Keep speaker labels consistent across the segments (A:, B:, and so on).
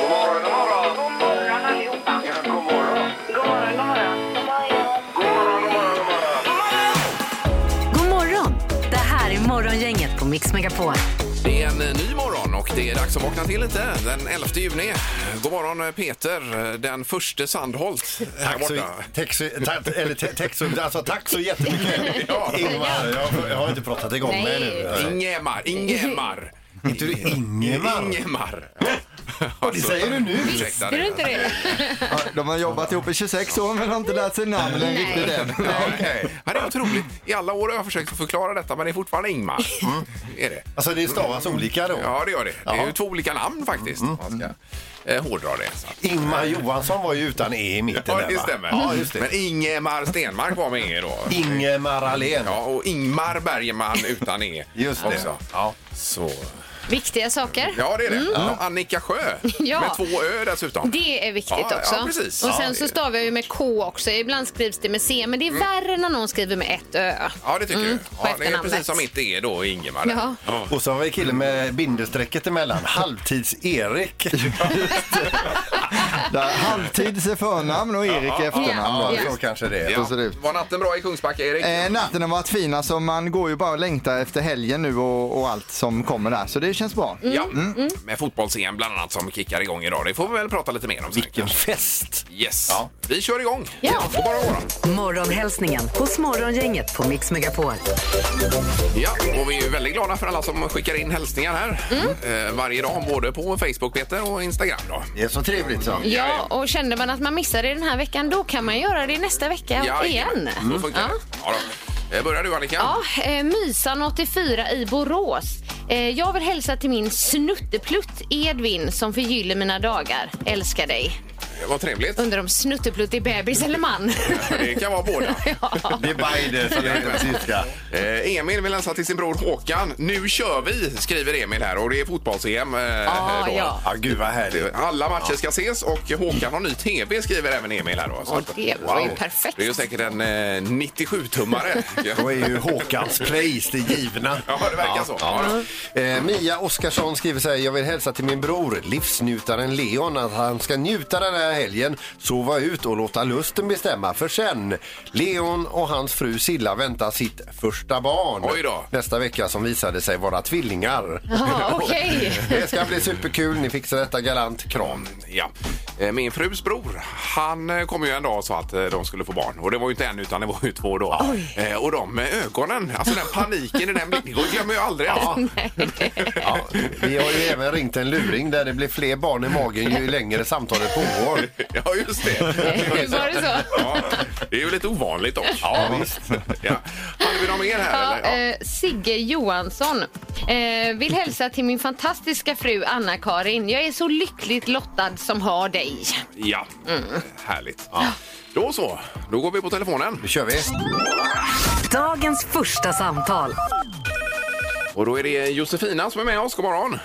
A: God morgon, god morgon.
B: God morgon allihopa.
A: Ja, god morgon.
B: God morgon, god morgon.
A: God morgon, god morgon, god morgon.
C: God morgon! Det här är Morgongänget på Mix Megapol.
D: Det är en eh, ny morgon och det är dags att vakna till lite den 11 juni. God morgon eh, Peter, eh, den första Sandholt här
E: Tack så,
D: borta.
E: tack, så, tack, eller, ta- tack, så, alltså, tack så jättemycket
D: Ja.
E: Ingmar. Jag, jag har inte pratat igång med
F: Nej.
E: nu.
D: Ingemar, Ingemar.
E: Heter du Ingemar?
D: Ingemar.
E: Det säger du nu.
D: Ursäkta
F: Är det inte det?
G: Ja, de har jobbat ihop i 26 år men har inte lärt sig namnen riktigt än.
D: Ja, okej. Ja, det är otroligt. I alla år har jag försökt att förklara detta men det är fortfarande Ingmar. Mm. Är det?
E: Alltså det stavas olika då.
D: Ja, det gör det. Det är
E: Mm. Ja. Mm.
D: ju två olika namn faktiskt. om Man ska eh, hårdra det. Så. att-
E: Ingmar Johansson var ju utan E i mitten
D: Ja,
E: där,
D: det
E: va?
D: stämmer.
E: Ja, just det.
D: Men Ingemar Stenmark var med er då.
E: Ingemar Ahlén.
D: Ja, och Ingmar Bergman utan E.
E: Just det.
D: Också.
E: Ja.
D: Så.
F: Viktiga saker.
D: Ja, det är det. Ja, Annika Sjö,
F: Ja.
D: med två Ö dessutom.
F: Det är viktigt
D: Ja, ja,
F: också.
D: precis.
F: Och
D: Ja,
F: sen
D: det- Mm.
F: så stavar jag ju med K också. Ibland skrivs det med C, men det är värre när någon skriver med ett Ö.
D: Ja, det tycker
F: Mm,
D: du.
F: på
D: Ja, det är
F: efternamnet.
D: precis som mitt E då, Ingemar.
F: Ja.
E: Och så har vi killen med bindestrecket emellan. Halvtids-Erik.
G: Där Halvtids är förnamn och Erik är efternamn.
E: Ja,
G: då.
E: så kanske det är.
D: Ja.
G: Så ser det ut.
D: Var natten bra i Kungsbacka, Erik?
G: Eh, natten har varit fin, alltså man går ju bara och längtar efter helgen nu och, och allt som kommer där, så det känns bra.
D: Ja, Mm. med fotbolls bland annat som kickar igång idag. Det får vi väl prata lite mer om sen.
E: Vilken fest!
D: Yes,
E: Ja.
D: vi kör igång.
F: Ja.
D: God morgon, god morgon.
C: Morgonhälsningen hos Morgongänget på Mix Megapol.
D: Ja, och vi är ju väldigt glada för alla som skickar in hälsningar här
F: Mm.
D: eh, varje dag, både på Facebook, Peter, och Instagram. Då.
E: Det är så trevligt så.
F: Ja, och känner man att man missar det den här veckan, då kan man göra det nästa vecka igen.
D: jajamän. Mm, Så funkar det. Ja, då. Eh, Börjar du, Annika?
F: Ja, eh, Mysan 84 i Borås. Eh, Jag vill hälsa till min snutteplutt Edvin som förgyller mina dagar. Älskar dig.
D: Det var trevligt.
F: Undrar om snutteplutt är bebis eller man?
D: Det kan vara båda.
E: Det är Biden som är den tyska.
D: Eh, Emil vill hälsa till sin bror Håkan. Nu kör vi, skriver Emil här. Och det är fotbolls-EM. Eh,
F: Ah,
D: då.
F: ja.
E: Ja, gud vad härligt.
D: Alla matcher ska ses och Håkan har ny TV skriver även Emil här då. Så
F: Ja,
D: att-
F: det var ju perfekt.
D: Det är ju säkert en eh, 97-tummare.
E: Då är ju Håkans place det givna.
D: Ja, det verkar så. Ja.
E: Eh, Mia Oskarsson skriver så här. Jag vill hälsa till min bror, livsnjutaren Leon, att han ska njuta den här helgen, sova ut och låta lusten bestämma. För sen, Leon och hans fru Silla väntar sitt första barn
D: Oj då.
E: nästa vecka som visade sig vara tvillingar.
F: Ja, okej.
E: Det ska bli superkul. Ni fixar detta galant. Kram.
D: Ja. Eh, Min frus bror, han eh, kom ju en dag och sa att eh, de skulle få barn. Och det var ju inte en utan det var ju två då. Eh, Och de med ögonen, alltså den paniken i den blicken, det går- glömmer jag aldrig. Alltså.
E: Ja, vi har ju även ringt en luring där det blir fler barn i magen ju längre samtalet pågår.
D: Ja, just det.
F: Var det så?
D: Ja, det är ju lite ovanligt dock. Ja, visst. Ja. Hade vi någon mer här?
F: Ja,
D: eller? Ja.
F: eh, Sigge Johansson eh, vill hälsa till min fantastiska fru Anna-Karin. Jag är så lyckligt lottad som har dig.
D: ja. Härligt. Ja. Då så, då går vi på telefonen.
E: Nu kör vi.
C: Dagens första samtal.
D: Och då är det Josefina som är med oss. God morgon.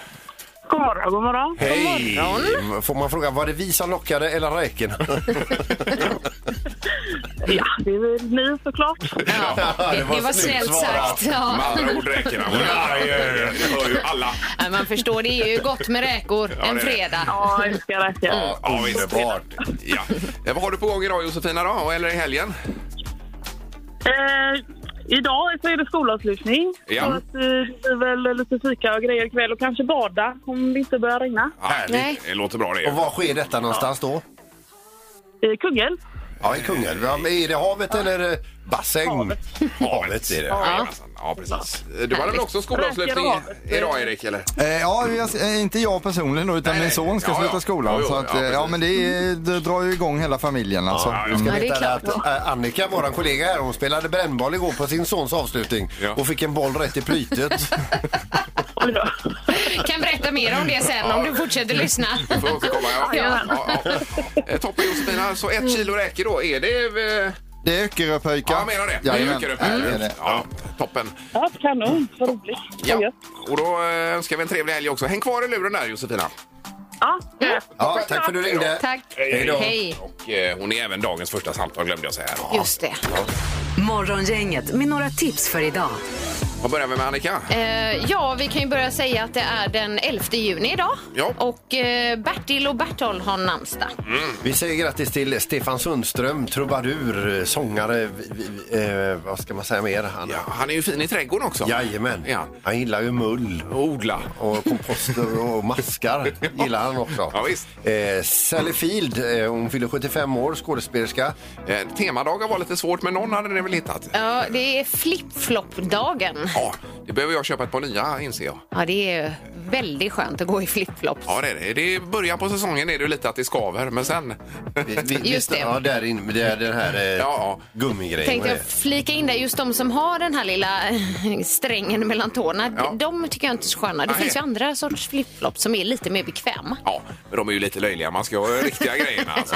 B: God morgon, god morgon.
E: Hej! Mm, Får man fråga, var det vi som lockade eller räken?
B: Ja, det är väl ni såklart.
F: Ja, det, det var,
E: snällt
F: snällt
E: svarat.
F: sagt. Ja.
D: Med andra ord räkorna. Det hör ju alla.
F: Ja, Man förstår, det är ju gott med räkor
D: Ja,
F: en
D: det är det.
F: fredag.
B: Ja, jag älskar det. Ja.
D: Ja, visst. Ja. Eh, Vad har du på gång idag Josefina då? Eller i helgen?
B: Eh, idag så är det skolavslutning.
D: Ja.
B: Så att, eh, det blir väl lite fika och grejer ikväll och kanske bada om det inte börjar regna.
F: Nej.
D: Härligt. Det låter bra det.
E: Och var sker detta någonstans då?
B: I Kungälv.
E: Ja, i Kungälv. Ja, men Är det havet eller eh, bassäng?
B: Havet.
E: Havet är det.
D: Jajamensan. Ja, precis. Eh, Du hade väl också
B: Räkor
D: skolavslutning
B: och havet.
D: idag Erik? Eller?
G: Eh, ja, jag, eh, inte jag personligen då, utan
D: Nej,
G: min son ska
D: ja,
G: sluta
D: ja.
G: skolan.
D: Jo, jo,
G: så att,
D: ja,
G: eh, ja,
D: precis.
G: men det, är- det drar ju igång hela familjen alltså.
D: Ja, just
E: Ska
D: det.
F: Ja, det är
E: veta
F: klart.
E: att eh, Annika, vår kollega här, hon spelade brännboll igår på sin sons avslutning
D: Ja.
E: och fick en boll rätt i plytet.
B: Oj då.
F: Kan berätta mer om det sen om du fortsätter lyssna.
D: Du får återkomma. Ja. Ja. Ja, ja. Eh, Toppen Josefina, så ett kilo räcker då. Är det... eh,
G: Det är Öckeröpöjkar.
D: Ja, jag menar det. Det
G: Jajamän.
D: ökar upp
G: Mm, det är
D: här.
G: det.
D: Ja, toppen.
B: Ja, kanon. Vad roligt. Vad
D: Ja.
B: gött.
D: Och då eh, önskar vi en trevlig helg också. Häng kvar i luren där Josefina.
B: Ja, ja.
E: Ja, tack för att du ringde.
F: Tack.
D: Hej då.
F: Hej.
D: Och eh, hon är även dagens första samtal glömde jag säga. här.
F: Just det.
C: Morgongänget med några tips för idag.
D: Vad börjar vi med Annika?
F: Eh, ja, vi kan ju börja säga att det är den 11 juni idag.
D: Ja. Mm.
F: Och eh, Bertil och Bertol har namnsdag.
E: Vi säger grattis till Stefan Sundström, trubadur, sångare, vi- vi- eh, vad ska man säga mer? Han,
D: Ja, han är ju fin i trädgården också.
E: Jajamän,
D: Ja.
E: han gillar ju mull.
D: Och Odla.
E: och komposter och maskar gillar han också.
D: Ja, visst.
E: Eh, Sally Field, eh, hon fyller 75 år, skådespelerska.
D: Eh, temadagar var lite svårt, men någon hade ni väl hittat?
F: Ja, det är flip-flop-dagen.
D: Ja, det behöver jag köpa ett par nya inser jag.
F: Ja, det är väldigt skönt att gå i flip-flops.
D: Ja, det är det. det. är- början på säsongen är det ju lite att det skaver, men sen...
E: Vi- vi- vi-
F: Just det.
E: Ja, där inne, det är den här eh,
D: Ja,
E: gummigrejen.
F: Tänkte jag
E: vad det är.
F: flika in där, just de som har den här lilla strängen mellan tårna,
D: Ja.
F: de tycker jag inte är så sköna. Det
D: Nej.
F: finns ju andra sorts flip-flops som är lite mer bekväma.
D: Ja, men de är ju lite löjliga. Man ska ju ha riktiga grejerna alltså.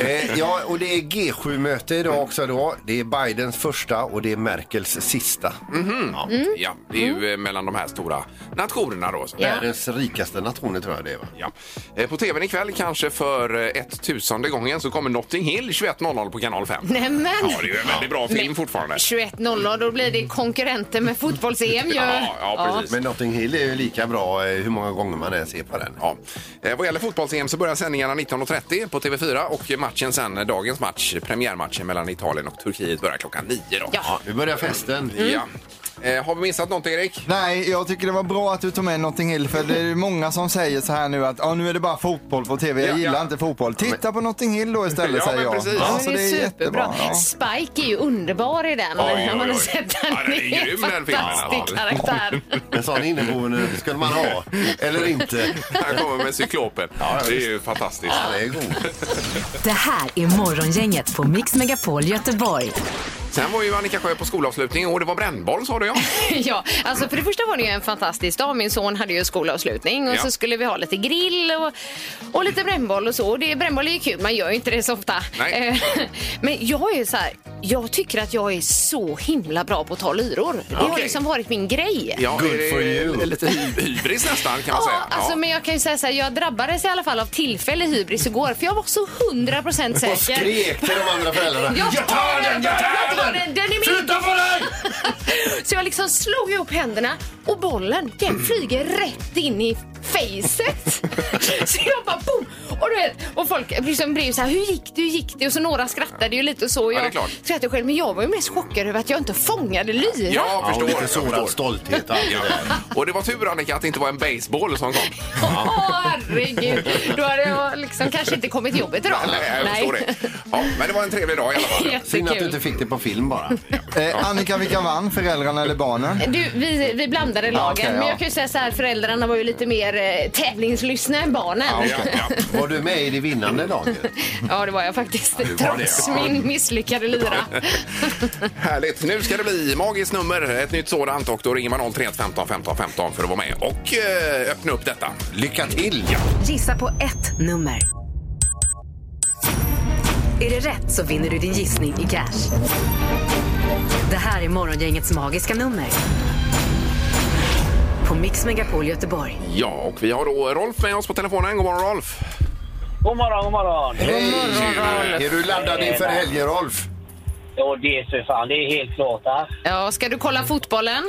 E: Eh, ja, och det är G7-möte idag också då. Det är Bidens första och det är Merkels sista.
D: Ja, det är ju eh, mellan de här stora nationerna då. Så.
F: Ja.
E: Världens rikaste nationer tror jag det är va?
D: Ja. Eh, På tvn ikväll kanske för eh, 1000 gången så kommer Notting Hill 21.00 på kanal 5.
F: Nämen!
D: Ja, det är ju en väldigt bra film
F: Men-
D: fortfarande.
F: 21.00, då blir det konkurrenter med fotbolls-EM ju.
D: Ja, ja, precis.
E: Men Notting Hill är ju lika bra eh, hur många gånger man än ser på den.
D: Ja. Eh, Vad gäller fotbolls-EM så börjar sändningarna 19.30 på TV4 och matchen sen, eh, dagens match, premiärmatchen mellan Italien och Turkiet börjar klockan 9. Då.
F: Ja.
E: Nu börjar festen.
D: Ja. Eh, Har vi missat något Erik?
G: Nej, jag tycker det var bra att du tog med Notting Hill för det är ju många som säger så här nu att ah, nu är det bara fotboll på tv, jag
D: Ja, ja.
G: gillar inte fotboll. Titta på Notting Hill då istället
D: Ja,
G: säger
D: men
G: jag.
D: precis. Ja,
F: Ja,
G: så
F: men det är superbra.
G: ja.
F: Spike är ju underbar i den.
D: Oj, oj,
F: Har man
D: oj.
F: sett
D: Ja, den är grym, den filmen,
F: Fantastisk
D: ja.
F: karaktär.
E: En sån inneboende skulle man ha, eller inte.
D: Han kommer med cyklopen. det är ju fantastiskt.
E: Han är god.
C: Det här är Morgongänget på Mix Megapol Göteborg.
D: Sen var ju Annika Sjö på skolavslutning och det var brännboll sa du ja.
F: ja, alltså för det första var det ju en fantastisk dag. Min son hade ju skolavslutning och
D: Ja.
F: så skulle vi ha lite grill och, och lite brännboll och så. Och det, brännboll är ju kul, man gör ju inte det så ofta.
D: Nej.
F: Eh, Men jag är så här, jag tycker att jag är så himla bra på att ta lyror. Det har
D: Okej.
F: liksom varit min grej.
D: ja
E: Good
D: är det-
E: for you.
D: det är Lite hy- hybris nästan kan man säga.
F: Ja, alltså, men jag kan ju säga så här, jag drabbades i alla fall av tillfällig hybris igår för jag var så 100% säker.
E: Och skrek till de andra föräldrarna.
F: Jag tar den! Jag tar den! Den är min!
E: Sluta få den!
F: Så jag liksom slog ihop händerna och bollen den flyger rätt in i facet. Så jag bara boom! Och, du vet, och folk liksom blev så här, hur gick det, hur gick det? Och så några skrattade ju lite och så. Och
D: Ja, det är
F: jag
D: klart.
F: skrattade själv, men jag var ju mest chockad över att jag inte fångade lyran.
D: Ja,
E: Ja,
D: förstår.
E: och lite
D: jag
E: sårad
D: förstår.
E: stolthet. allt det
D: Ja.
E: där.
D: Och det var tur Annika att det inte var en baseball som kom.
F: Åh, herregud! Då hade jag liksom kanske inte kommit till jobbet idag.
D: Nej, jag förstår det. Ja, men det var en trevlig dag i alla fall.
E: Synd att du
F: Jättekul.
E: inte fick det på film bara.
G: Eh, Annika, vilka vann? Föräldrarna eller barnen?
F: Du, vi, vi blandade lagen,
G: okej,
F: men
G: ja.
F: jag kan ju säga så här, föräldrarna var ju lite mer eh, tävlingslystna än barnen.
D: Ja, ja.
E: Var du med i det vinnande laget?
F: Ja, det var jag faktiskt.
D: det var det,
F: trots
D: ja.
F: min misslyckade lyra.
D: Härligt. Nu ska det bli magiskt nummer, ett nytt sådant och då ringer man 031 15 15 15 för att vara med och eh, öppna upp detta.
E: Lycka till! Ja.
C: Gissa på ett nummer. Är det rätt så vinner du din gissning i cash. Det här är Morgongängets magiska nummer. På Mix Megapol Göteborg.
D: Ja, och vi har då Rolf med oss på telefonen. God morgon Rolf!
H: God morgon, god morgon.
E: Hej! Är du laddad inför helgen, Rolf?
H: Ja, det är för fan, det är helt klart. va?
F: Ja, ska du kolla fotbollen?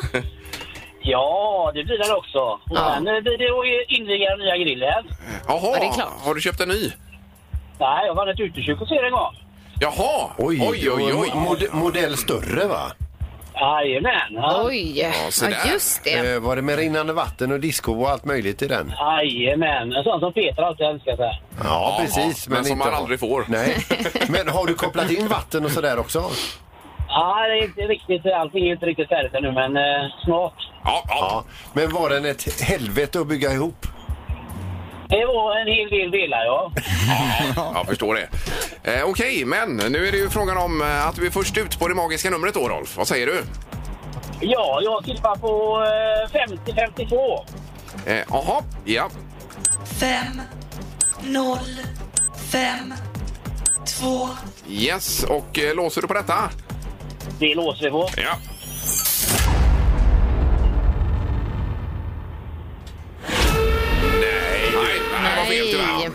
H: Ja, det blir den också. Och
F: Ja.
H: sen eh, blir det att inviga den nya grillen.
D: Jaha,
F: det är klart.
D: har du köpt en ny?
H: Nej, jag var i ett utekök och ser en gång.
D: Jaha! oj, oj! oj.
E: Mod- modell större, va?
H: Jajamän. ja.
F: Oj!
D: så
F: Ja,
D: där.
F: just det.
E: Eh, var det med rinnande vatten och disco och allt möjligt i den?
H: Jajamän. En sån som Peter alltid älskar. Så här.
E: Ja,
D: Ja,
E: precis.
D: men som
E: inte
D: man
E: har-
D: aldrig får.
E: Nej. Men har du kopplat in vatten och sådär också?
H: Nej, det är inte riktigt, allting är inte riktigt färdigt ännu, men eh, snart.
D: Ja, ja.
E: Ja. Men var den ett helvete att bygga ihop?
H: Det var en hel del delar, ja.
D: ja, jag förstår det. Eh, Okej, men nu är det ju frågan om eh, att du är först ut på det magiska numret då, Rolf. Vad säger du?
H: Ja, jag tippar på eh, 50-52.
D: Eh, Jaha, ja.
I: fem noll fem två
D: Yes, och eh, låser du på detta?
H: Det låser vi på.
D: Ja. Nej, nej, nej, det var fel tyvärr.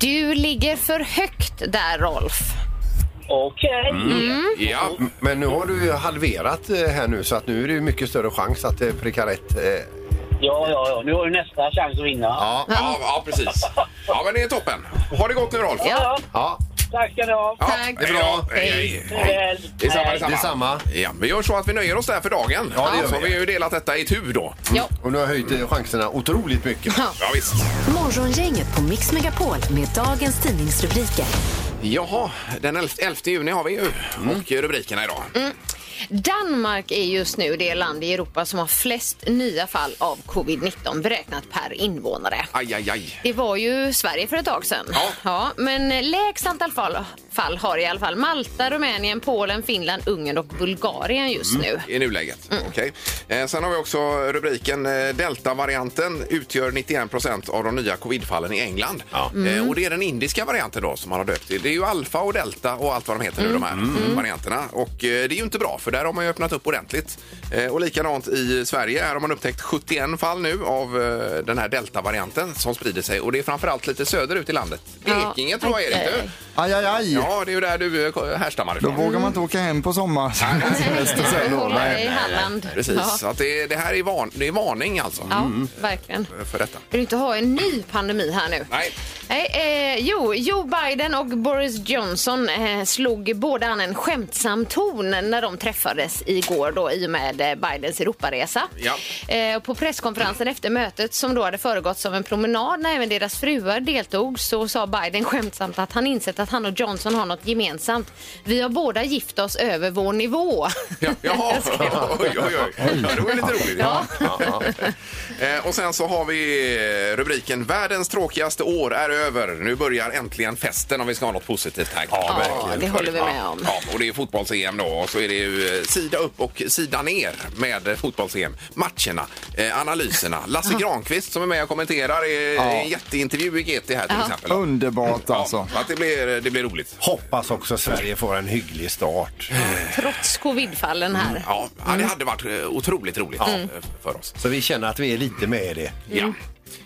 F: Du ligger för högt där, Rolf.
H: Okej.
D: Ja,
E: Men nu har du ju halverat eh, här nu så att nu är det ju mycket större chans att eh, pricka rätt. eh.
H: Ja, ja, ja. Nu har du nästa chans att vinna.
E: Ja,
D: ja, ja, precis. Ja, men det är toppen. Ha det gott nu, Rolf.
F: Ja.
E: ja,
H: Tack ska ni ha.
D: Ja,
F: Tack.
D: Det är bra. Hej.
H: Farväl.
D: Detsamma,
H: Hej.
D: detsamma.
E: detsamma.
D: Ja, vi gör så att vi nöjer oss där för dagen.
E: Ja, det gör
D: så
E: vi.
D: vi har ju delat detta i tur då.
F: Ja.
E: Och nu har jag höjt eh, chanserna otroligt mycket.
D: Ja, visst.
C: Morgongänget på Mix Megapol med dagens tidningsrubriker.
D: Jaha, den 11, 11 juni har vi ju. Och rubrikerna idag.
F: Danmark är just nu det land i Europa som har flest nya fall av covid-19 beräknat per invånare.
D: Aj, aj, aj.
F: Det var ju Sverige för ett tag sedan.
D: Ja.
F: men lägst antal fall, fall har i alla fall Malta, Rumänien, Polen, Finland, Ungern och Bulgarien just nu.
D: I nuläget.
G: Mm.
D: Okej. Eh, sen har vi också rubriken eh, Delta-varianten utgör 91 procent av de nya covidfallen i England. Eh,
G: Mm.
D: och det är den indiska varianten då som man har döpt till. Det är ju alfa och delta och allt vad de heter nu de här
G: Mm.
D: varianterna. Och eh, det är ju inte bra för där har man ju öppnat upp ordentligt. Eh, och likadant i Sverige. Här har man upptäckt 71 fall nu av eh, den här delta-varianten som sprider sig. Och det är framförallt lite söderut i landet. Blekinge tror jag är det inte?
G: Aj, aj, aj.
D: Ja, det är ju där du eh, härstammar
G: Då
D: ifrån.
G: vågar man inte åka hem på sommar.
F: Nej, hålla dig i Halland.
D: Precis, så
F: Ja,
D: att det, det här är, van, det är varning alltså
F: ja verkligen.
D: för detta.
F: Vill du inte ha en ny pandemi här nu?
D: Nej.
F: Nej, eh, jo, Joe Biden och Boris Johnson eh, slog båda an en skämtsam ton när de träffades igår då, i och med eh, Bidens Europaresa.
D: Ja.
F: Eh, och på presskonferensen efter mötet som då hade föregått av en promenad när även deras fruar deltog så sa Biden skämtsamt att han insett att han och Johnson har något gemensamt. Vi har båda gift oss över vår nivå.
D: Ja, jaha, oj, oj, oj. Ja, Det var ju lite roligt.
F: Ja.
D: Eh, Och sen så har vi eh, rubriken Världens tråkigaste år är över. Nu börjar äntligen festen om vi ska ha något positivt här. Ja,
F: det håller vi med om.
D: Ja, och det är fotbolls-EM då och så är det ju eh, sida upp och sida ner med eh, fotbolls-EM. Matcherna, eh, analyserna. Lasse Granqvist som är med och kommenterar i ja. en jätteintervju i GT här till exempel.
G: Underbart alltså.
D: Ja, att det blir, det blir roligt.
E: Hoppas också Sverige får en hygglig start.
F: Trots covidfallen här.
D: Ja, ja, det hade varit eh, otroligt roligt eh, för oss.
E: Så vi känner att vi är lite med i det.
D: Ja.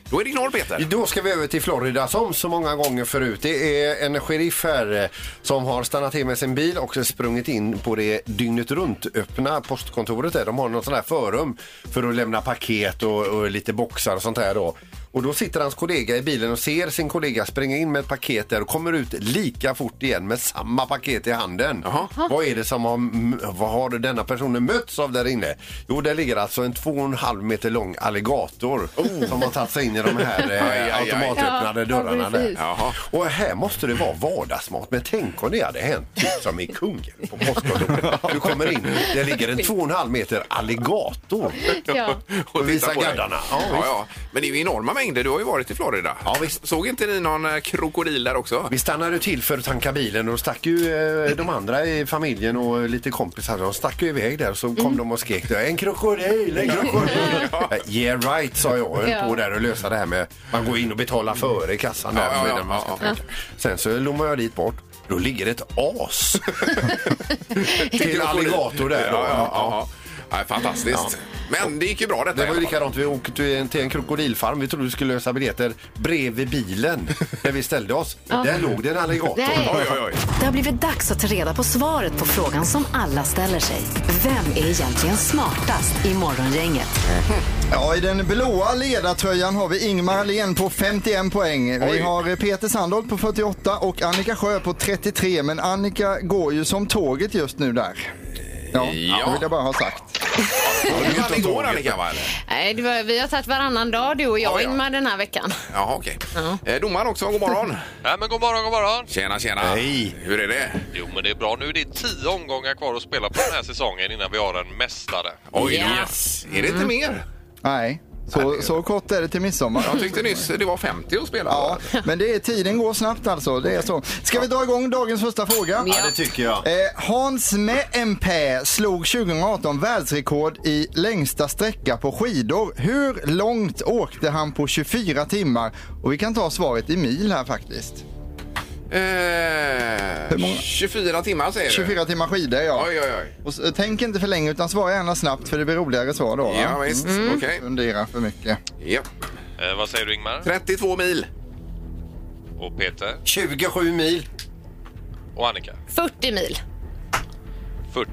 D: Då är det knorr, Peter.
E: Då ska vi över till Florida som så många gånger förut. Det är en sheriff här eh, som har stannat till med sin bil och sprungit in på det dygnet runt öppna postkontoret där. De har någon sån här förum för att lämna paket och, och lite boxar och sånt här då. Och då sitter hans kollega i bilen och ser sin kollega springa in med ett paket där och kommer ut lika fort igen med samma paket i handen.
D: Jaha.
E: Vad är det som har, m- vad har denna personen mötts av där inne? Jo, där ligger alltså en 2,5 meter lång alligator
D: Oh.
E: som har tagit sig in i de här eh,
D: Aj, aj, aj.
E: automatöppnade
F: Ja,
E: dörrarna
F: ja,
E: där.
F: precis.
D: Jaha.
E: Och här måste det vara vardagsmat. Men tänk om det hade hänt typ som i Kungen på postkontoret. Du kommer in, det ligger en 2,5 meter alligator.
F: Ja.
E: Och
D: titta
E: visa
D: på dig.
E: gaddarna. Ja,
D: Ja, ja, Men det är ju enorma mängder. Du har ju varit i Florida.
E: Ja, visst.
D: Såg inte ni någon eh, krokodil där också?
E: Vi stannade till för att tanka bilen och då stack ju eh, de andra i familjen och lite kompisar. De stack ju iväg där och så kom de och skrek en krokodil, en krokodil. Eh, yeah right sa jag och höll
F: Ja.
E: på där och lösa det här med man går in och betalar före i kassan. Där,
D: Ja, ja,
E: för
D: ja,
E: innan man ska
D: ja,
E: tanka. Sen så lommade jag dit bort. Då ligger ett as till alligator där.
D: Ja, ja,
E: Då.
D: ja. ja. Nej, fantastiskt. Men det gick ju bra detta.
E: Det var ju
D: i alla fall.
E: likadant. Vi åkte till en- till en krokodilfarm. Vi trodde vi skulle lösa biljetter bredvid bilen där vi ställde oss. Där låg det en alligator.
F: Nej.
D: Oj, oj, oj.
C: Det har blivit dags att ta reda på svaret på frågan som alla ställer sig. Vem är egentligen smartast i Morgongänget?
G: Ja, i den blåa ledartröjan har vi Ingmar Ahlén på 51 poäng.
D: Oj.
G: Vi har eh, Peter Sandholt på 48 och Annika Sjö på 33. Men Annika går ju som tåget just nu där. Ja,
D: Ja.
G: det vill jag bara ha sagt.
D: Var du inte igår, Annika? Va? eller?
F: Nej, det var, vi har tagit varannan dag du och jag
D: Ja, ja.
F: Ingmar den här veckan.
D: Jaha, okej. Eh, Domaren också, god morgon.
J: Nej, men god morgon, god morgon.
D: Tjena, tjena.
E: Hej.
D: Hur är det?
J: Jo, men det är bra. Nu är det tio omgångar kvar att spela på den här säsongen innan vi har en mästare.
D: Oj,
F: Ja.
D: yes. Mm. Är det inte mer?
G: Nej, så, så kort är det till midsommar.
D: Jag tyckte nyss det var 50 att spela.
G: Ja, men det är, tiden går snabbt alltså. Det är så. Ska vi dra igång dagens första fråga?
E: Ja, det tycker jag.
G: Eh, Hans Mäempää slog 2018 världsrekord i längsta sträcka på skidor. Hur långt åkte han på 24 timmar? Och vi kan ta svaret i mil här faktiskt. Hur
D: Eh,
G: många?
D: 24 timmar säger du?
G: 24 timmar skidor ja.
D: Oj, oj, oj.
G: Och så, tänk inte för länge utan svara gärna snabbt för det blir roligare svar då. va?
D: Ja, visst.
E: Mm.
D: Okej.
G: Fundera för mycket.
D: Ja.
J: Eh, vad säger du, Ingmar?
D: 32 mil.
J: Och Peter?
E: 27 mil.
J: Och Annika?
F: 40 mil.
J: 40.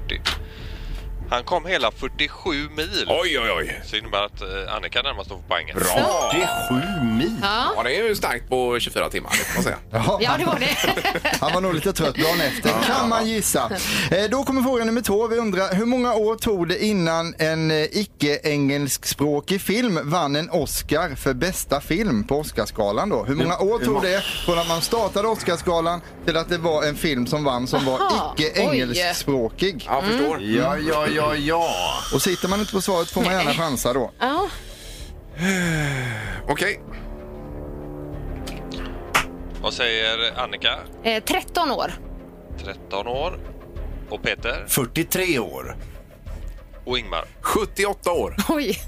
J: Han kom hela 47 mil.
D: Oj, oj, oj.
J: Så innebär att eh, Annika närmast står på poängen.
D: Bra!
E: 47 mil.
D: Ja, Mm. det är ju starkt på 24 timmar, det får man säga.
G: Ja,
F: Ja, det var det.
G: Han var nog lite trött dagen efter, kan man gissa. Eh, Då kommer fråga nummer två. Vi undrar, hur många år tog det innan en eh, icke-engelskspråkig film vann en Oscar för bästa film på Oscarsgalan då? Hur många år tog det från att man startade Oscarsgalan till att det var en film som vann som var
F: Aha,
G: icke-engelskspråkig?
D: Ja, förstår.
E: Ja, ja, ja, ja.
G: Och sitter man inte på svaret får man gärna chansa då.
F: Ja.
D: Okej.
J: Vad säger Annika?
F: Eh, 13 år.
J: 13 år. Och Peter?
E: 43 år.
J: Och Ingmar?
D: 78 år.
F: Oj,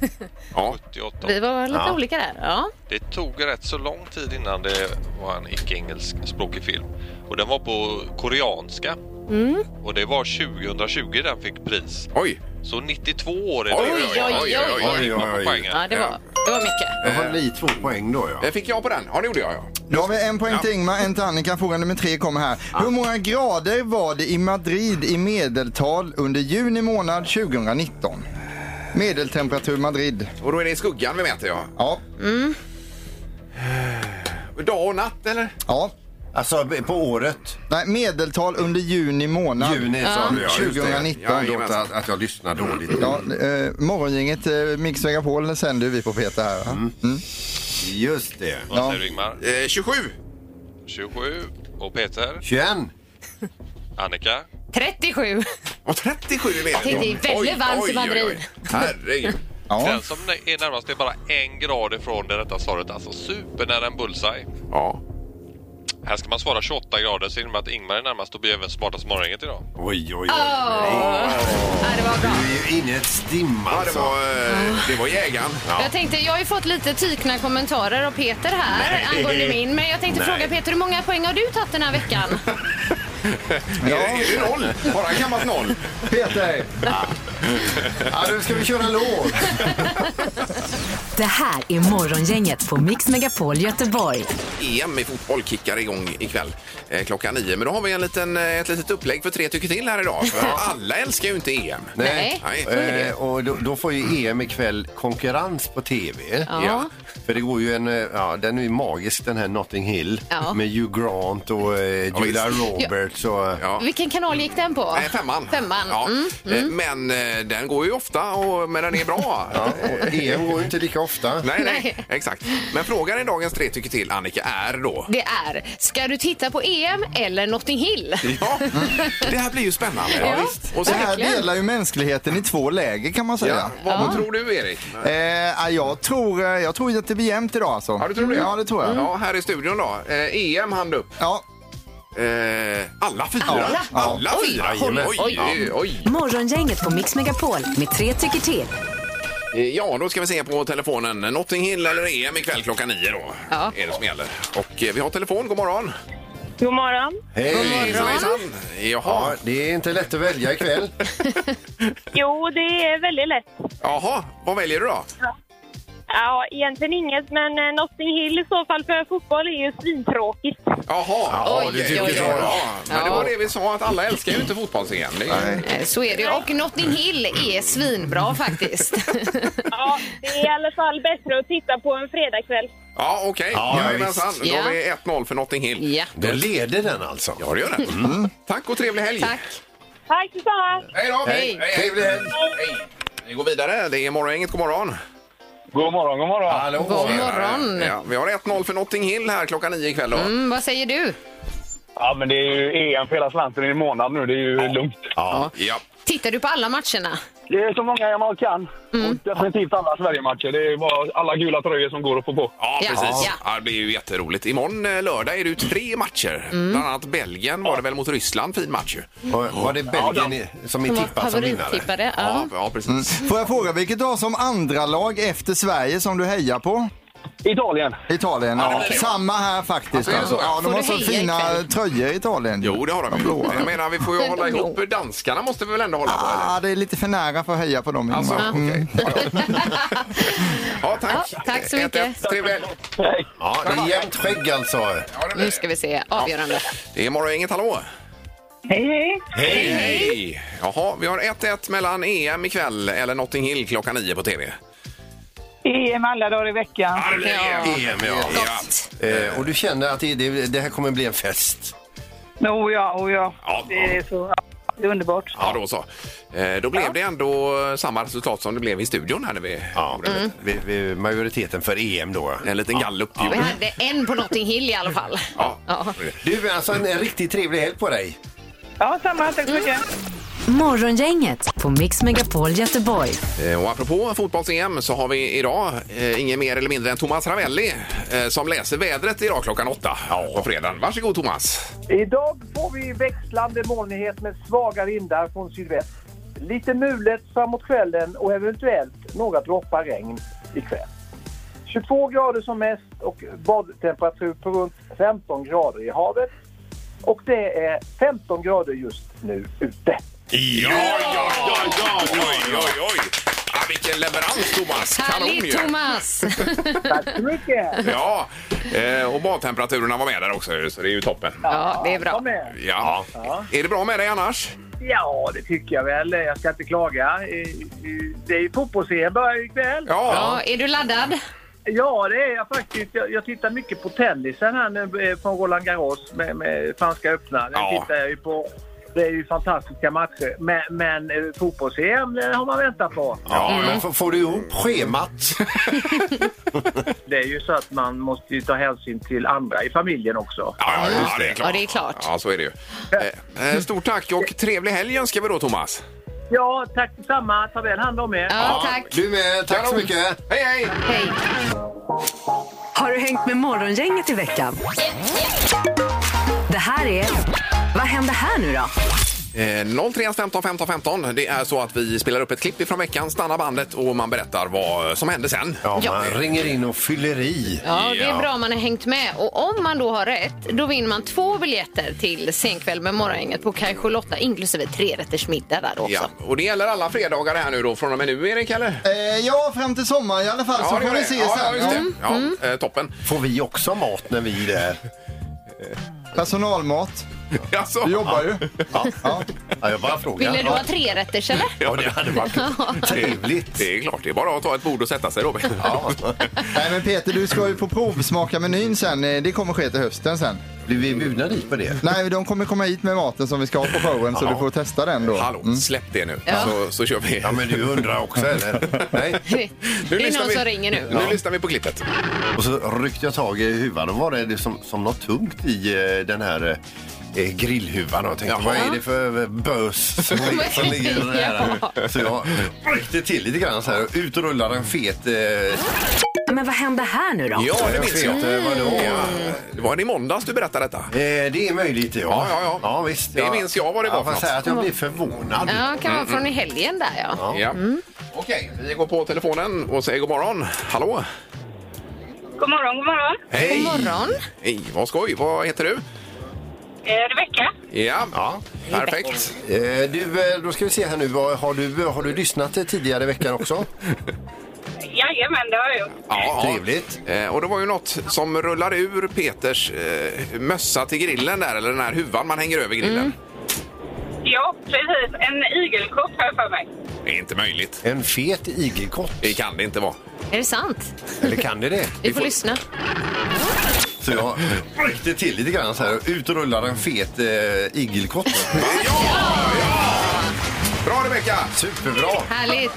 D: Ja.
J: 78
F: vi
J: år.
F: var lite olika där. Ja.
J: Det tog rätt så lång tid innan det var en icke-engelskspråkig film. Och den var på koreanska.
D: Mm.
J: Och det var 2020 den fick pris.
D: Oj.
J: Så 92 år
D: Oj,
J: idag.
D: oj, oj, oj, oj,
E: oj, oj.
F: Ja, det var, det var mycket.
E: Då var ni två poäng då ja.
D: Eh, Fick jag på den? Ja, det gjorde jag. Ja.
G: Nu har vi en poäng till Ingmar, en till Annika. Fråga nummer tre kommer här. Hur många grader var det i Madrid i medeltal under juni månad 2019? Medeltemperatur Madrid.
D: Och då är det i skuggan vi mäter, ja.
G: Ja,
D: Dag och natt, eller?
G: ja.
E: Alltså på året.
G: Nej, medeltal under juni månad.
E: Juni sa du ja. just det.
G: 2019.
E: Förlåt att, att jag lyssnar dåligt.
G: Ja, eh, morgongänget eh, Mix Megapol sänder vi på Peter här. va? Mm.
E: Just det.
J: Vad säger du Ingmar?
D: Eh, 27.
J: 27. Och Peter?
E: 21.
J: Annika?
F: 37.
D: Och 37 i medeltal.
F: Det är väldigt
D: Oj,
F: varmt i
D: oj, oj,
F: Madrid.
D: oj. Herregud.
G: Ja.
J: Den som är närmast är bara en grad ifrån det rätta svaret. Alltså supernära en bullseye.
D: Ja.
J: Här ska man svara 28 grader så innebär att Ingmar är närmast och blir även smartast morgonet idag.
E: Oj, oj, oj.
F: Ja, det var bra.
E: Du är ju inne i ett stim
D: Ja, det
E: alltså.
D: var, eh, det var jägaren.
F: Jag tänkte, jag har ju fått lite tykna kommentarer av Peter här
E: Nej.
F: angående min. Men jag tänkte
E: Nej.
F: fråga Peter, hur många poäng har du tagit den här veckan?
D: Är, det- är det noll? Bara gammalt noll.
G: Peter!
E: Ja, nu ska vi köra en låt.
C: Det här är Morgongänget på Mix Megapol Göteborg.
D: EM i fotboll kickar igång ikväll eh, klockan nio. Men då har vi en liten, eh, ett litet upplägg för tre tycker till här idag. För alla älskar ju inte EM.
F: Nej.
D: Nej.
E: Eh, och då, då får ju EM ikväll konkurrens på tv.
F: Ja.
D: Ja.
E: För det går ju en, eh, ja den är ju magisk den här Notting Hill
F: Ja.
E: med Hugh Grant och eh,
D: Ja,
E: Julia
D: visst.
E: Roberts och... Ja.
D: Ja.
F: Vilken kanal gick den på?
D: Nej, femman.
F: Femman.
D: Ja.
F: Mm.
D: Eh, Men eh, den går ju ofta, och, men den är bra.
E: och EM eh, E går ju inte lika ofta.
D: Nej, nej,
F: Nej.
D: exakt. Men frågan i dagens tre tycker till, Annika, är då...
F: Det är, ska du titta på EM eller Notting Hill?
D: Ja, det här blir ju spännande.
F: Mm. Ja, visst.
D: Och
G: Det
D: så
G: här
D: här,
F: Verkligen.
G: delar ju mänskligheten i två läger kan man säga.
D: ja, vad, vad tror du, Erik?
G: Eh, jag, tror, eh, jag tror att det blir jämnt idag alltså.
D: Ja, du tror det? Mm.
G: Ja, det tror jag.
D: Ja, här i studion då. Eh, EM, hand upp.
G: Ja,
D: Eh, alla fyra?
G: Alla?
D: Alla fyra?
E: jajamän.
D: Oj, oj, oj.
C: Morgongänget på Mix Megapol med tre tycker till.
D: Eh, Ja, då ska vi se på telefonen. Notting Hill eller EM ikväll klockan nio då.
F: Ja.
D: Är det som gäller. Och eh, vi har telefon. God morgon.
B: God morgon.
E: Hej!
D: Hejsan, hejsan. Jaha.
E: Ja, det är inte lätt att välja ikväll.
B: Jo, det är väldigt lätt.
D: Jaha, vad väljer du då?
B: Ja, egentligen inget, men eh, Notting Hill i så fall för fotboll är ju svintråkigt.
D: Jaha, ja,
F: Oj,
D: det
F: oj,
D: tycker
F: oj.
D: jag. Ja, men det
F: Ja.
D: var det vi sa, att alla älskar ju inte fotbolls-EM. Det är ju-
F: Eh, Så är det ju. Och Notting Hill är svinbra faktiskt.
B: Ja, det är i alla fall bättre att titta på en fredagkväll.
D: Ja, okej.
E: Ja,
D: Jajamensan.
E: visst.
D: Då
F: Ja.
D: har vi 1-0 för Notting Hill.
F: ja. Mm.
E: Då leder den alltså.
D: Ja, det gör det. Tack och trevlig helg.
F: Tack.
B: Tack detsamma!
D: Hej då!
F: Hej.
E: Trevlig helg!
D: Hej. Vi går vidare. Det är Morgongänget. God morgon!
A: God morgon, god morgon.
E: Hallå!
F: God morgon.
D: Ja, vi har 1-0 för Notting Hill här klockan nio ikväll. Då.
F: Mm, vad säger du?
A: Ja, men det är ju EM för hela slanten i en månad nu. Det är ju lugnt.
E: Ja.
D: Ja.
F: Tittar du på alla matcherna?
A: Det är så många jag bara kan.
K: Mm.
A: Och definitivt alla Sverigematcher. Det är bara alla gula tröjor som går att få på.
D: Ja,
F: Ja.
D: precis.
F: Ja.
D: Ja, det blir ju jätteroligt. Imorgon eh, lördag är det ju tre matcher.
F: Mm.
D: Bland annat Belgien var det väl mot Ryssland. Fin match ju.
E: Var var det Belgien i- som är
F: Som var
E: tippad som vinnare?
F: favorittippade?
D: Ja,
F: Ja.
D: ja precis.
E: Mm.
G: Får jag fråga, vilket du har som andra lag efter Sverige som du hejar på?
A: Italien.
G: Italien,
D: det
G: ja.
D: blir det.
G: Samma här faktiskt.
D: Ja,
G: Alltså.
D: så.
G: Ja,
F: Får
G: de har
F: du
G: så
F: heja
G: fina
F: ikväll?
G: tröjor i Italien.
D: Jo, det har de ju.
G: blåa.
D: Jag menar, vi får ju hålla ihop. Danskarna måste vi väl ändå hålla på? Eller?
G: Ah, det är lite för nära för att heja på dem. Ingmar.
D: Alltså,
G: Mm.
D: okej. Ja, ja. ja, tack.
F: Ja, tack så
D: 1-1.
F: mycket.
D: Trevlig helg.
A: Hej.
E: Ja, det är jämnt skägg alltså.
D: Ja, det blir
F: Nu
D: det.
F: ska vi se. Avgörande.
D: Det är Morgongänget, hallå!
K: Hej, hej.
D: Hej, hej! Jaha, vi har 1-1 mellan EM ikväll eller Notting Hill klockan 9 på TV.
K: EM alla dagar i veckan.
D: EM, ja.
E: Eh, och du känner att det, det, det här kommer bli en fest?
K: Oh, ja, oh, ja.
D: Ja.
K: Det är så ja, det är underbart.
D: Ja, då så. Eh, Då blev det ändå samma resultat som det blev i studion här när vi... Ja,
E: vi, vi, Mm. majoriteten för EM då.
D: En liten gallup.
F: Vi hade en på Notting Hill i alla fall. Ja.
E: Du, alltså en, en riktigt trevlig helg på dig.
K: Ja, samma. Tack så
A: Mm.
K: mycket.
C: Morgongänget på Mix Megapol Göteborg.
D: Eh, Och apropå fotbolls-EM så har vi idag eh, ingen mer eller mindre än Thomas Ravelli eh, som läser vädret idag klockan åtta på fredagen. Varsågod Thomas!
L: Idag får vi växlande molnighet med svaga vindar från sydväst. Lite mulet framåt kvällen och eventuellt några droppar regn ikväll. 22 grader som mest och badtemperatur på runt 15 grader i havet. Och det är 15 grader just nu ute.
D: Ja, ja, ja, ja, oj, oj, oj! Ja, vilken leverans Thomas! Kanon ju!
F: Härligt Thomas!
L: Tack så mycket!
D: Ja, eh, och badtemperaturerna var med där också så det är ju toppen.
F: Ja, det är bra.
D: Ja. Mm. Är det bra med dig annars?
L: Ja, det tycker jag väl. Jag ska inte klaga. Eh, eh, Det är ju fotbolls-EM börjar ju ikväll.
F: Ja, är du laddad?
L: Ja, det är jag faktiskt. Jag, jag tittar mycket på tennisen här nu eh, från Roland Garros med, med franska öppna. Den
D: Ja.
L: tittar jag ju på. Det är ju fantastiska matcher. Men, men eh, fotbolls-EM det har man väntat på.
E: Ja, men f- får du ihop schemat?
L: Det är ju så att man måste ju ta hänsyn till andra i familjen också.
D: Ja, ja, det är klart.
F: Ja, det är klart.
D: Ja, så är det ju. Eh, eh, stort tack och trevlig helg önskar vi då Thomas.
L: Ja, tack detsamma. Ta väl hand om er.
F: Ja, tack.
E: Du med, tack så
D: Kanon.
E: mycket.
D: Hej, hej!
F: Hej.
C: Har du hängt med Morgongänget i veckan? Det här är... Vad händer här nu då?
D: Eh, 031 15 15 15. Det är så att vi spelar upp ett klipp ifrån veckan, stannar bandet och man berättar vad som hände sen.
E: Ja,
F: Ja.
E: man ringer in och fyller i.
F: Ja, det är bra om man har hängt med. Och om man då har rätt, då vinner man två biljetter till Senkväll med Morgongänget på Kajsjö Lotta, inklusive trerättersmiddag där också.
D: Ja, och det gäller alla fredagar här nu då från och med nu Erik eller?
G: Eh, ja, fram till sommar i alla fall så
D: det
G: får
D: gör
G: vi
D: det.
G: se
D: ja, ja,
G: sen. Mm.
D: just
G: Ja.
D: det. Ja, eh, toppen.
E: Får vi också mat när vi är där?
G: Personalmat.
D: Alltså,
G: Du jobbar ju.
E: Ja, ja jag bara frågar.
F: Ville du ha trerätters eller?
E: Ja, det hade varit trevligt.
D: det är klart, det är bara att ta ett bord och sätta sig då. Ja.
G: Nej men Peter, du ska ju på provsmaka menyn sen. Eh, Det kommer ske till hösten sen.
E: Blir vi bjudna dit på det?
G: Nej, de kommer komma hit med maten som vi ska ha på showen så du får testa den då.
D: Hallå, släpp det nu så, så kör vi.
E: Ja, men du undrar också, eller? Nej.
D: Nu
F: det är
D: lyssnar
F: någon
D: vi-
F: som ringer nu.
D: Nu lyssnar vi på klippet.
E: Och så ryckte jag tag i huvan och var det det som, som något tungt i eh, den här eh, grillhuvan. Och jag tänkte,
D: Jaha.
E: vad är det för eh, bös som, ligger- som ligger där? Så jag ryckte till lite grann så här och utrullar en fet... Eh,
C: Men vad händer här nu då?
D: Ja, det minns jag.
E: fet, eh, vadå?
D: Ja. Det var i måndags du berättade detta.
E: Eh, det är möjligt, ja.
D: Ja, ja, ja.
E: visst,
D: Det minns jag vad det var
E: Jag får
D: för något.
E: säga att jag blir förvånad.
F: Ja, kan vara från i helgen där Mm, ja.
D: Ja. Okej, vi går på telefonen och säger god morgon. Hallå!
B: God morgon, god morgon.
D: Hej!
F: God morgon.
D: Hej, vad skoj! Vad heter du?
B: Eh, Rebecka?
D: Ja, perfekt.
E: Eh, du, eh, då ska vi se här nu. Vad- Har du, har du lyssnat eh, tidigare i veckan också?
B: Jajamän, det har jag gjort.
D: Ja,
E: Trevligt.
D: Eh, Och det var ju något som rullar ur Peters eh, mössa till grillen där, eller den här huvan man hänger över grillen.
F: Mm.
B: Ja, precis. En igelkott har jag för mig.
D: Det är inte möjligt.
E: En fet igelkott.
D: Det kan det inte vara.
F: Är det sant?
E: Eller kan det det?
F: Vi får lyssna.
E: Så jag ryckte till lite grann så här och utrullar en fet eh, igelkott.
D: Ja! Bra Rebecka!
E: Superbra!
F: Härligt.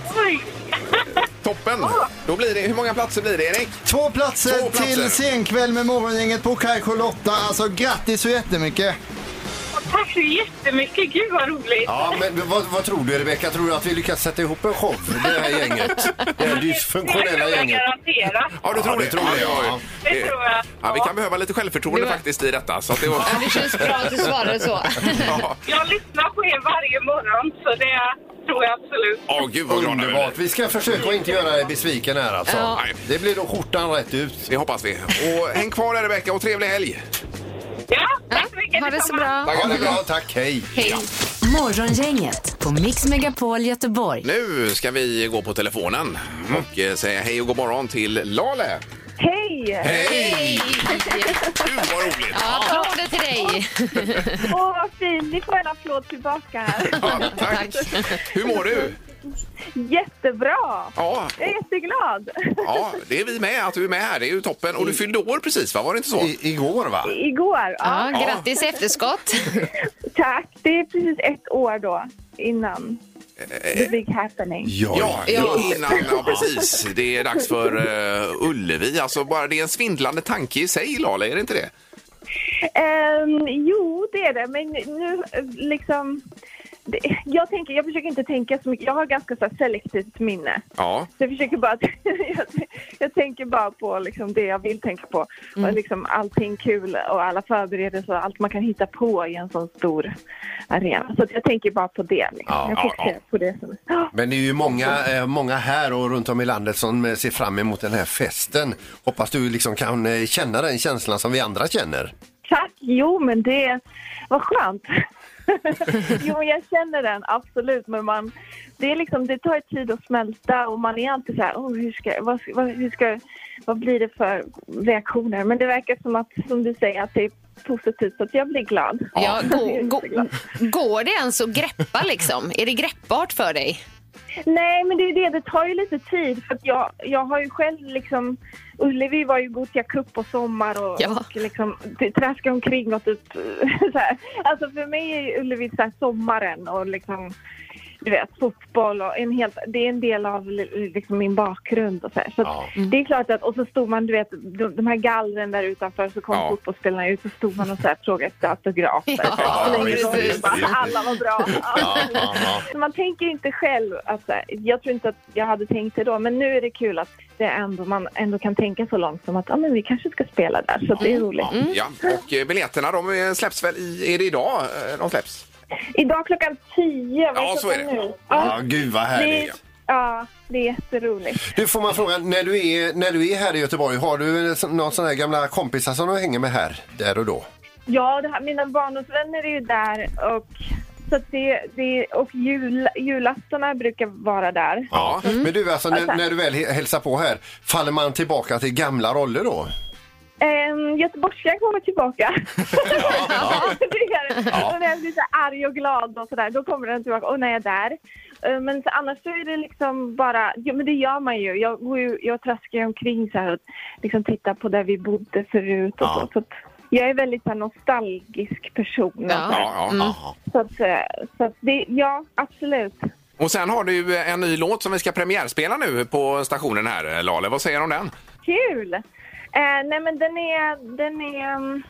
D: Toppen! Då blir det, hur många platser blir det Erik?
G: Två platser,
D: Två platser.
G: till senkväll med Morgongänget på Kajsjö Lotta. Alltså grattis så jättemycket!
B: Tack så jättemycket. Gud, vad roligt.
E: Ja, men vad, vad tror du Rebecka? Tror du att vi lyckas sätta ihop en show, det här gänget? Det här dysfunktionella gänget?
B: garanterat.
D: Ja, du tror
E: det
D: det?
E: tror jag,
D: Ja,
E: ja.
D: ja.
B: Det tror jag.
D: Eh, Ja, vi kan behöva lite självförtroende
F: Det var-
D: faktiskt i detta. Så att det var...
F: Ja, det känns bra att du svarade så.
D: Ja.
B: Jag lyssnar på er varje morgon, så det tror jag absolut.
D: Åh, gud vad glada vi blir.
E: Underbart! Vi ska försöka att inte göra dig besviken här alltså.
F: Ja.
D: Nej.
E: Det blir då skjortan rätt ut.
D: Det hoppas vi. Och häng kvar där Rebecka och trevlig helg!
B: Ja, tack så
F: Ja,
B: mycket.
F: ha det så
B: detsamma.
F: bra.
E: Ha det bra, tack, hej!
F: Hej.
C: Morgongänget på Mix Megapol Göteborg.
D: Nu ska vi gå på telefonen och eh, säga hej och god morgon till Lale.
K: Hej! Hej!
D: Hej! Gud vad roligt!
F: Ja, applåder till dig.
M: Åh, vad fin! Ni får en applåd tillbaka här.
D: Tack. Hur mår du?
M: Jättebra!
D: Ja.
M: Jag är jätteglad.
D: Ja, det är vi med att du är med här. Det är ju toppen. Och du fyllde år precis va? Var det inte så?
E: igår va?
M: Igår.
F: Ja, grattis i efterskott.
M: Tack. Det är precis ett år då, innan
D: Eh,
M: the big happening.
D: Ja,
M: Ja.
D: Innan, ja, precis. Det är dags för eh, Ullevi. Alltså, bara det är en svindlande tanke i sig, Lala, är det inte det?
M: Ehm, jo, det är det. Men nu eh, liksom... Det, jag, tänker, jag försöker inte tänka så mycket. Jag har ganska så här, selektivt minne.
D: Ja.
M: Så jag försöker bara... jag, jag tänker bara på liksom, det jag vill tänka på.
E: Mm.
M: Och liksom allting kul och alla förberedelser och allt man kan hitta på i en sån stor arena. Så att jag tänker bara på det. Liksom.
E: Ja,
M: jag
E: ja,
M: fokuserar
E: ja.
M: på det. Som,
E: Men det är ju många, eh, många här och runt om i landet som eh, ser fram emot den här festen. Hoppas du liksom kan eh, känna den känslan som vi andra känner.
M: Tack! Jo, men det var skönt. jo, men jag känner den absolut, men man, det, är liksom, det tar tid att smälta och man är alltid så här, oh, hur ska, vad, ska- vad, hur ska, vad blir det för reaktioner? Men det verkar som att, som du säger, att det är positivt, så att jag blir glad.
F: Ja, gå, gå, går det ens att greppa liksom? Är det greppbart för dig?
M: Nej, men det är ju det. Det tar ju lite tid. För att jag, jag har ju själv liksom... Ullevi var ju Gothia Cup och sommar och,
F: Ja.
M: och liksom, t- traska omkring och typ så här. Alltså för mig är ju Ullevi så här sommaren och liksom, du vet, fotboll och en helt, det är en del av li- liksom min bakgrund och så här. Så att det är klart att, och så stod man, du vet, de, de här gallren där utanför så kom
F: Ja.
M: fotbollsspelarna ut och stod man och så här frågade efter autografer.
F: Ja,
M: Så här, så länge
F: visst,
M: de-
F: visst.
M: bara, Alla var bra. Så man tänker inte själv att så här, jag tror inte att jag hade tänkt det då, men nu är det kul att det är ändå, man ändå kan tänka så långt som att ah, men vi kanske ska spela där, så att det är roligt.
D: Ja, och eh, biljetterna de eh, släpps väl i... Är det idag eh, de släpps?
M: Idag klockan 10, vad
D: Ja, så är
M: klockan
D: det.
M: nu?
E: Ja, gud vad
M: det är,
E: härligt.
M: ja, det är jätteroligt.
E: Du får man fråga, när du, är, när du är här i Göteborg, har du eh, någon sån här gamla kompisar som du hänger med här, där och då?
M: Ja, det här, mina barndomsvänner är ju där och, så att det, det, och jul, julaftona brukar vara där.
E: Ja. Men du, alltså, när,
M: Alltså-
E: när du väl he- hälsar på här, faller man tillbaka till gamla roller då?
M: Um, Göteborgskan kommer tillbaka. det gör den.
E: Ja.
M: Och när jag blir så här arg och glad och sådär, då kommer den tillbaka. Och när jag är där. Eh, Men så annars så är det liksom bara, ja, men det gör man ju. Jag, går ju, jag traskar ju omkring så här och liksom tittar på där vi bodde förut och så. så att jag är väldigt så här, nostalgisk person. och
D: Ja,
M: så här.
D: ja, ja.
M: Så att, eh, så att det, ja, absolut.
D: Och sen har du eh, en ny låt som vi ska premiärspela nu på stationen här, eh, Lale. Vad säger du om den?
M: Kul! Eh, nej men den är, den är... mm,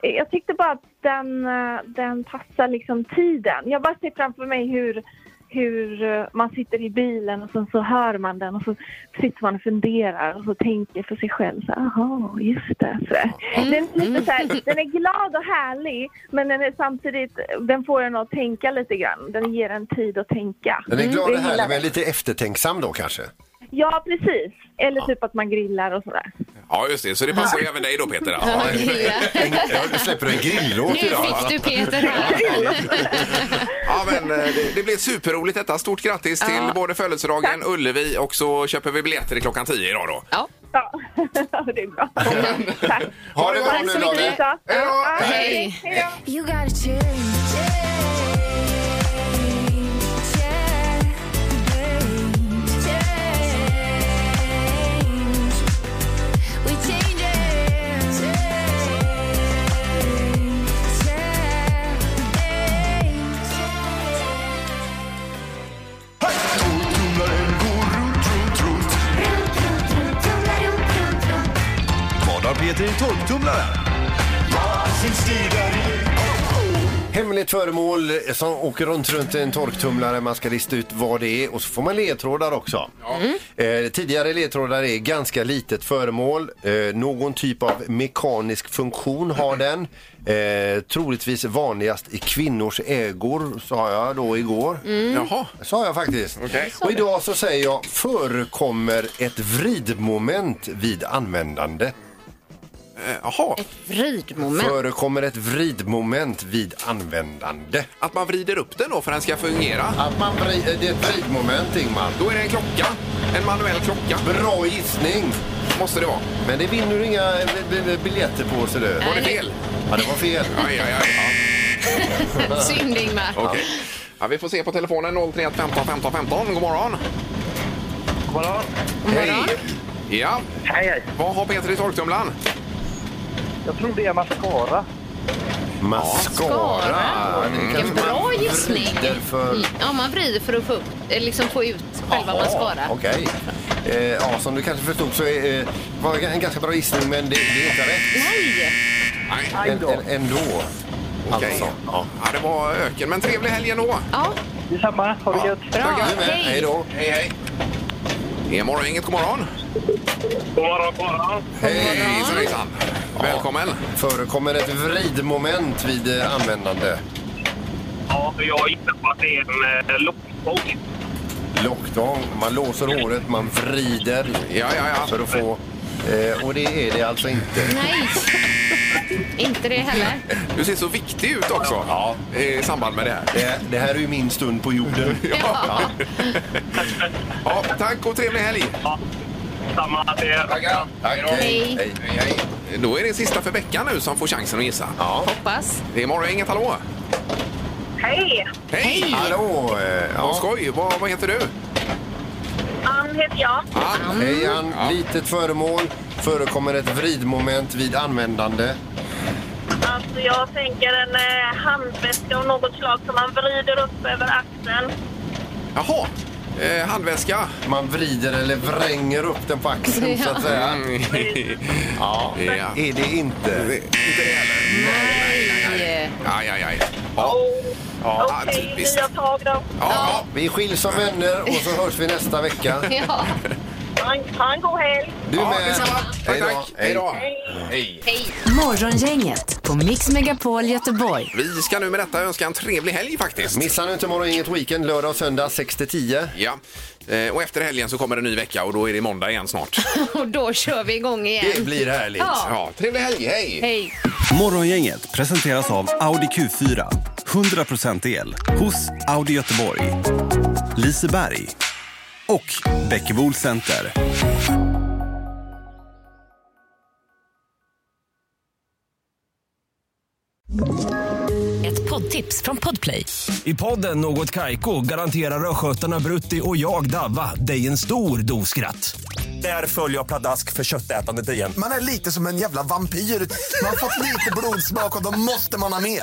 M: jag tyckte bara att den, eh, den passar liksom tiden. Jag bara ser framför mig hur, hur eh, man sitter i bilen och sen så hör man den och så sitter man och funderar och så tänker för sig själv så här, aha, just det. Så där. Den, är lite så här, den är glad och härlig men den är samtidigt, den får en att tänka lite grann. Den ger en tid att tänka.
E: Den är glad
M: Jag
E: och
M: gillar
E: härlig,
M: det.
E: men lite eftertänksam då kanske?
M: Ja, precis. Eller typ att man grillar och sådär.
D: Ja, just det. Så det passar ju även dig då, Peter.
M: Ja,
E: Ja, du släpper en grillåt
D: Nu fick du, Peter. Ja, men eh, det, det blev superroligt detta. Stort grattis till både födelsedagen, Ullevi och så köper vi biljetter i klockan 10 idag då.
F: Ja.
M: det är bra.
D: Tack. Ha det bra
M: Tack
D: nu
M: så mycket.
D: Lale.
M: Ja,
F: Hej.
N: You gotta change.
O: Vad har Peter i torktumlaren?
E: Hemligt föremål som åker runt runt en torktumlare. Man ska lista ut vad det är och så får man ledtrådar också. Eh, tidigare ledtrådar är ganska litet föremål. Eh, någon typ av mekanisk funktion har den. Eh, troligtvis vanligast i kvinnors ägor, sa jag då igår.
D: Mm. Jaha.
E: Sa jag faktiskt.
D: Okej.
E: Och idag så säger jag förekommer ett vridmoment vid användande.
D: eh, Jaha.
F: Vridmoment.
E: Förekommer ett vridmoment vid användande.
D: Att man vrider upp den då för att den ska fungera?
E: Att man eh, vri- det är ett vridmoment, Ingmar.
D: Då är det en klocka. En manuell klocka.
E: Bra gissning!
D: måste det vara.
E: Men det vinner du inga eh, b- b- biljetter på, ser du.
D: Var det fel?
E: Ja, det var fel.
D: Aj, aj, aj.
F: Synd Ingmar.
D: Okej. Ja, vi får se på telefonen 031 15 15 15. God morgon! God morgon! Hej! Ja. Hej, hej. Vad har Peter i torktumlaren?
L: Jag tror det är mascara.
E: Mascara. Mm.
F: Vilken bra gissning. Mm,
E: För...
F: Ja, man vrider för att få, upp, eh, liksom få ut själva mascara.
E: Okej. Eh, ja, som du kanske förstod så är, eh, var det en ganska bra gissning, men det, det är inte rätt.
F: Nej!
E: En, en, ändå.
D: Okej.
E: Alltså.
D: Ja. det var öken. Men trevlig helg ändå!
F: Ja.
L: Detsamma. Ha det gött.
D: Tackar.
E: Du med. Hej. Hej då.
D: Hej, hej. Det är morgongänget. God morgon! God morgon, god morgon! Hej, hejsan, hejsan. Välkommen!
E: Förekommer ett vridmoment vid eh, användande?
N: Ja, för jag gissar på att det är en eh, lockpåg.
E: Lockdown. Man låser håret, man vrider för att få... Eh, och det är det alltså inte.
F: Nej! Inte det heller.
D: Du ser så viktig ut också i samband med det här.
E: Det, det här är ju min stund på jorden.
F: Ja.
D: Ja, tack och trevlig helg!
N: Samma till er.
D: Tackar.
F: Hej.
D: Hej. Hej. Då är det sista för Becka nu som får chansen att gissa. Ja.
F: Hoppas.
D: Det är morgongänget, hallå!
N: Hej!
D: Hej!
E: Hallå! eh,
D: Ja. Vad skoj! Vad, vad heter du?
N: Ann heter jag.
E: Hej
D: Mm.
E: Ann, litet föremål. Förekommer ett vridmoment vid användande?
N: Alltså, jag tänker en eh, handväska av något slag som man vrider upp över axeln.
D: Jaha! Eh, handväska.
E: Man vrider eller vränger upp den på axeln så att säga.
D: Mm.
E: Ja. Är det inte?
D: Inte det heller?
F: Eh,
D: Aj, aj, aj. Ja. Ja, typiskt.
N: Jag tar dem.
D: Ja.
E: Vi skiljs som vänner och så hörs vi nästa vecka.
F: Ja.
N: Ha en- Ha en god helg!
E: Du
D: Ja,
E: med.
D: detsamma. Tack, tack. Hej då. Hej.
C: Morgongänget på Mix Megapol Göteborg.
D: Vi ska nu med detta önska en trevlig helg faktiskt.
E: Missa nu inte morgon inget weekend, lördag och söndag 6 till 10.
D: Ja. Eh, och efter helgen så kommer en ny vecka och då är det måndag igen snart.
F: Och då kör vi igång igen.
D: Ja.
F: Ja.
D: trevlig helg. Hej!
F: Hej.
O: Morgongänget presenteras av Audi Q4. 100% el hos Audi Göteborg, Liseberg och Bäckebol Center.
P: Ett poddtips från Podplay.
Q: I podden Något Kaiko garanterar östgötarna Brutti och jag, Davva, dig en stor dos skratt. Där följer jag pladask för köttätandet igen.
R: Man är lite som en jävla vampyr. Man har fått lite blodsmak och då måste man ha mer.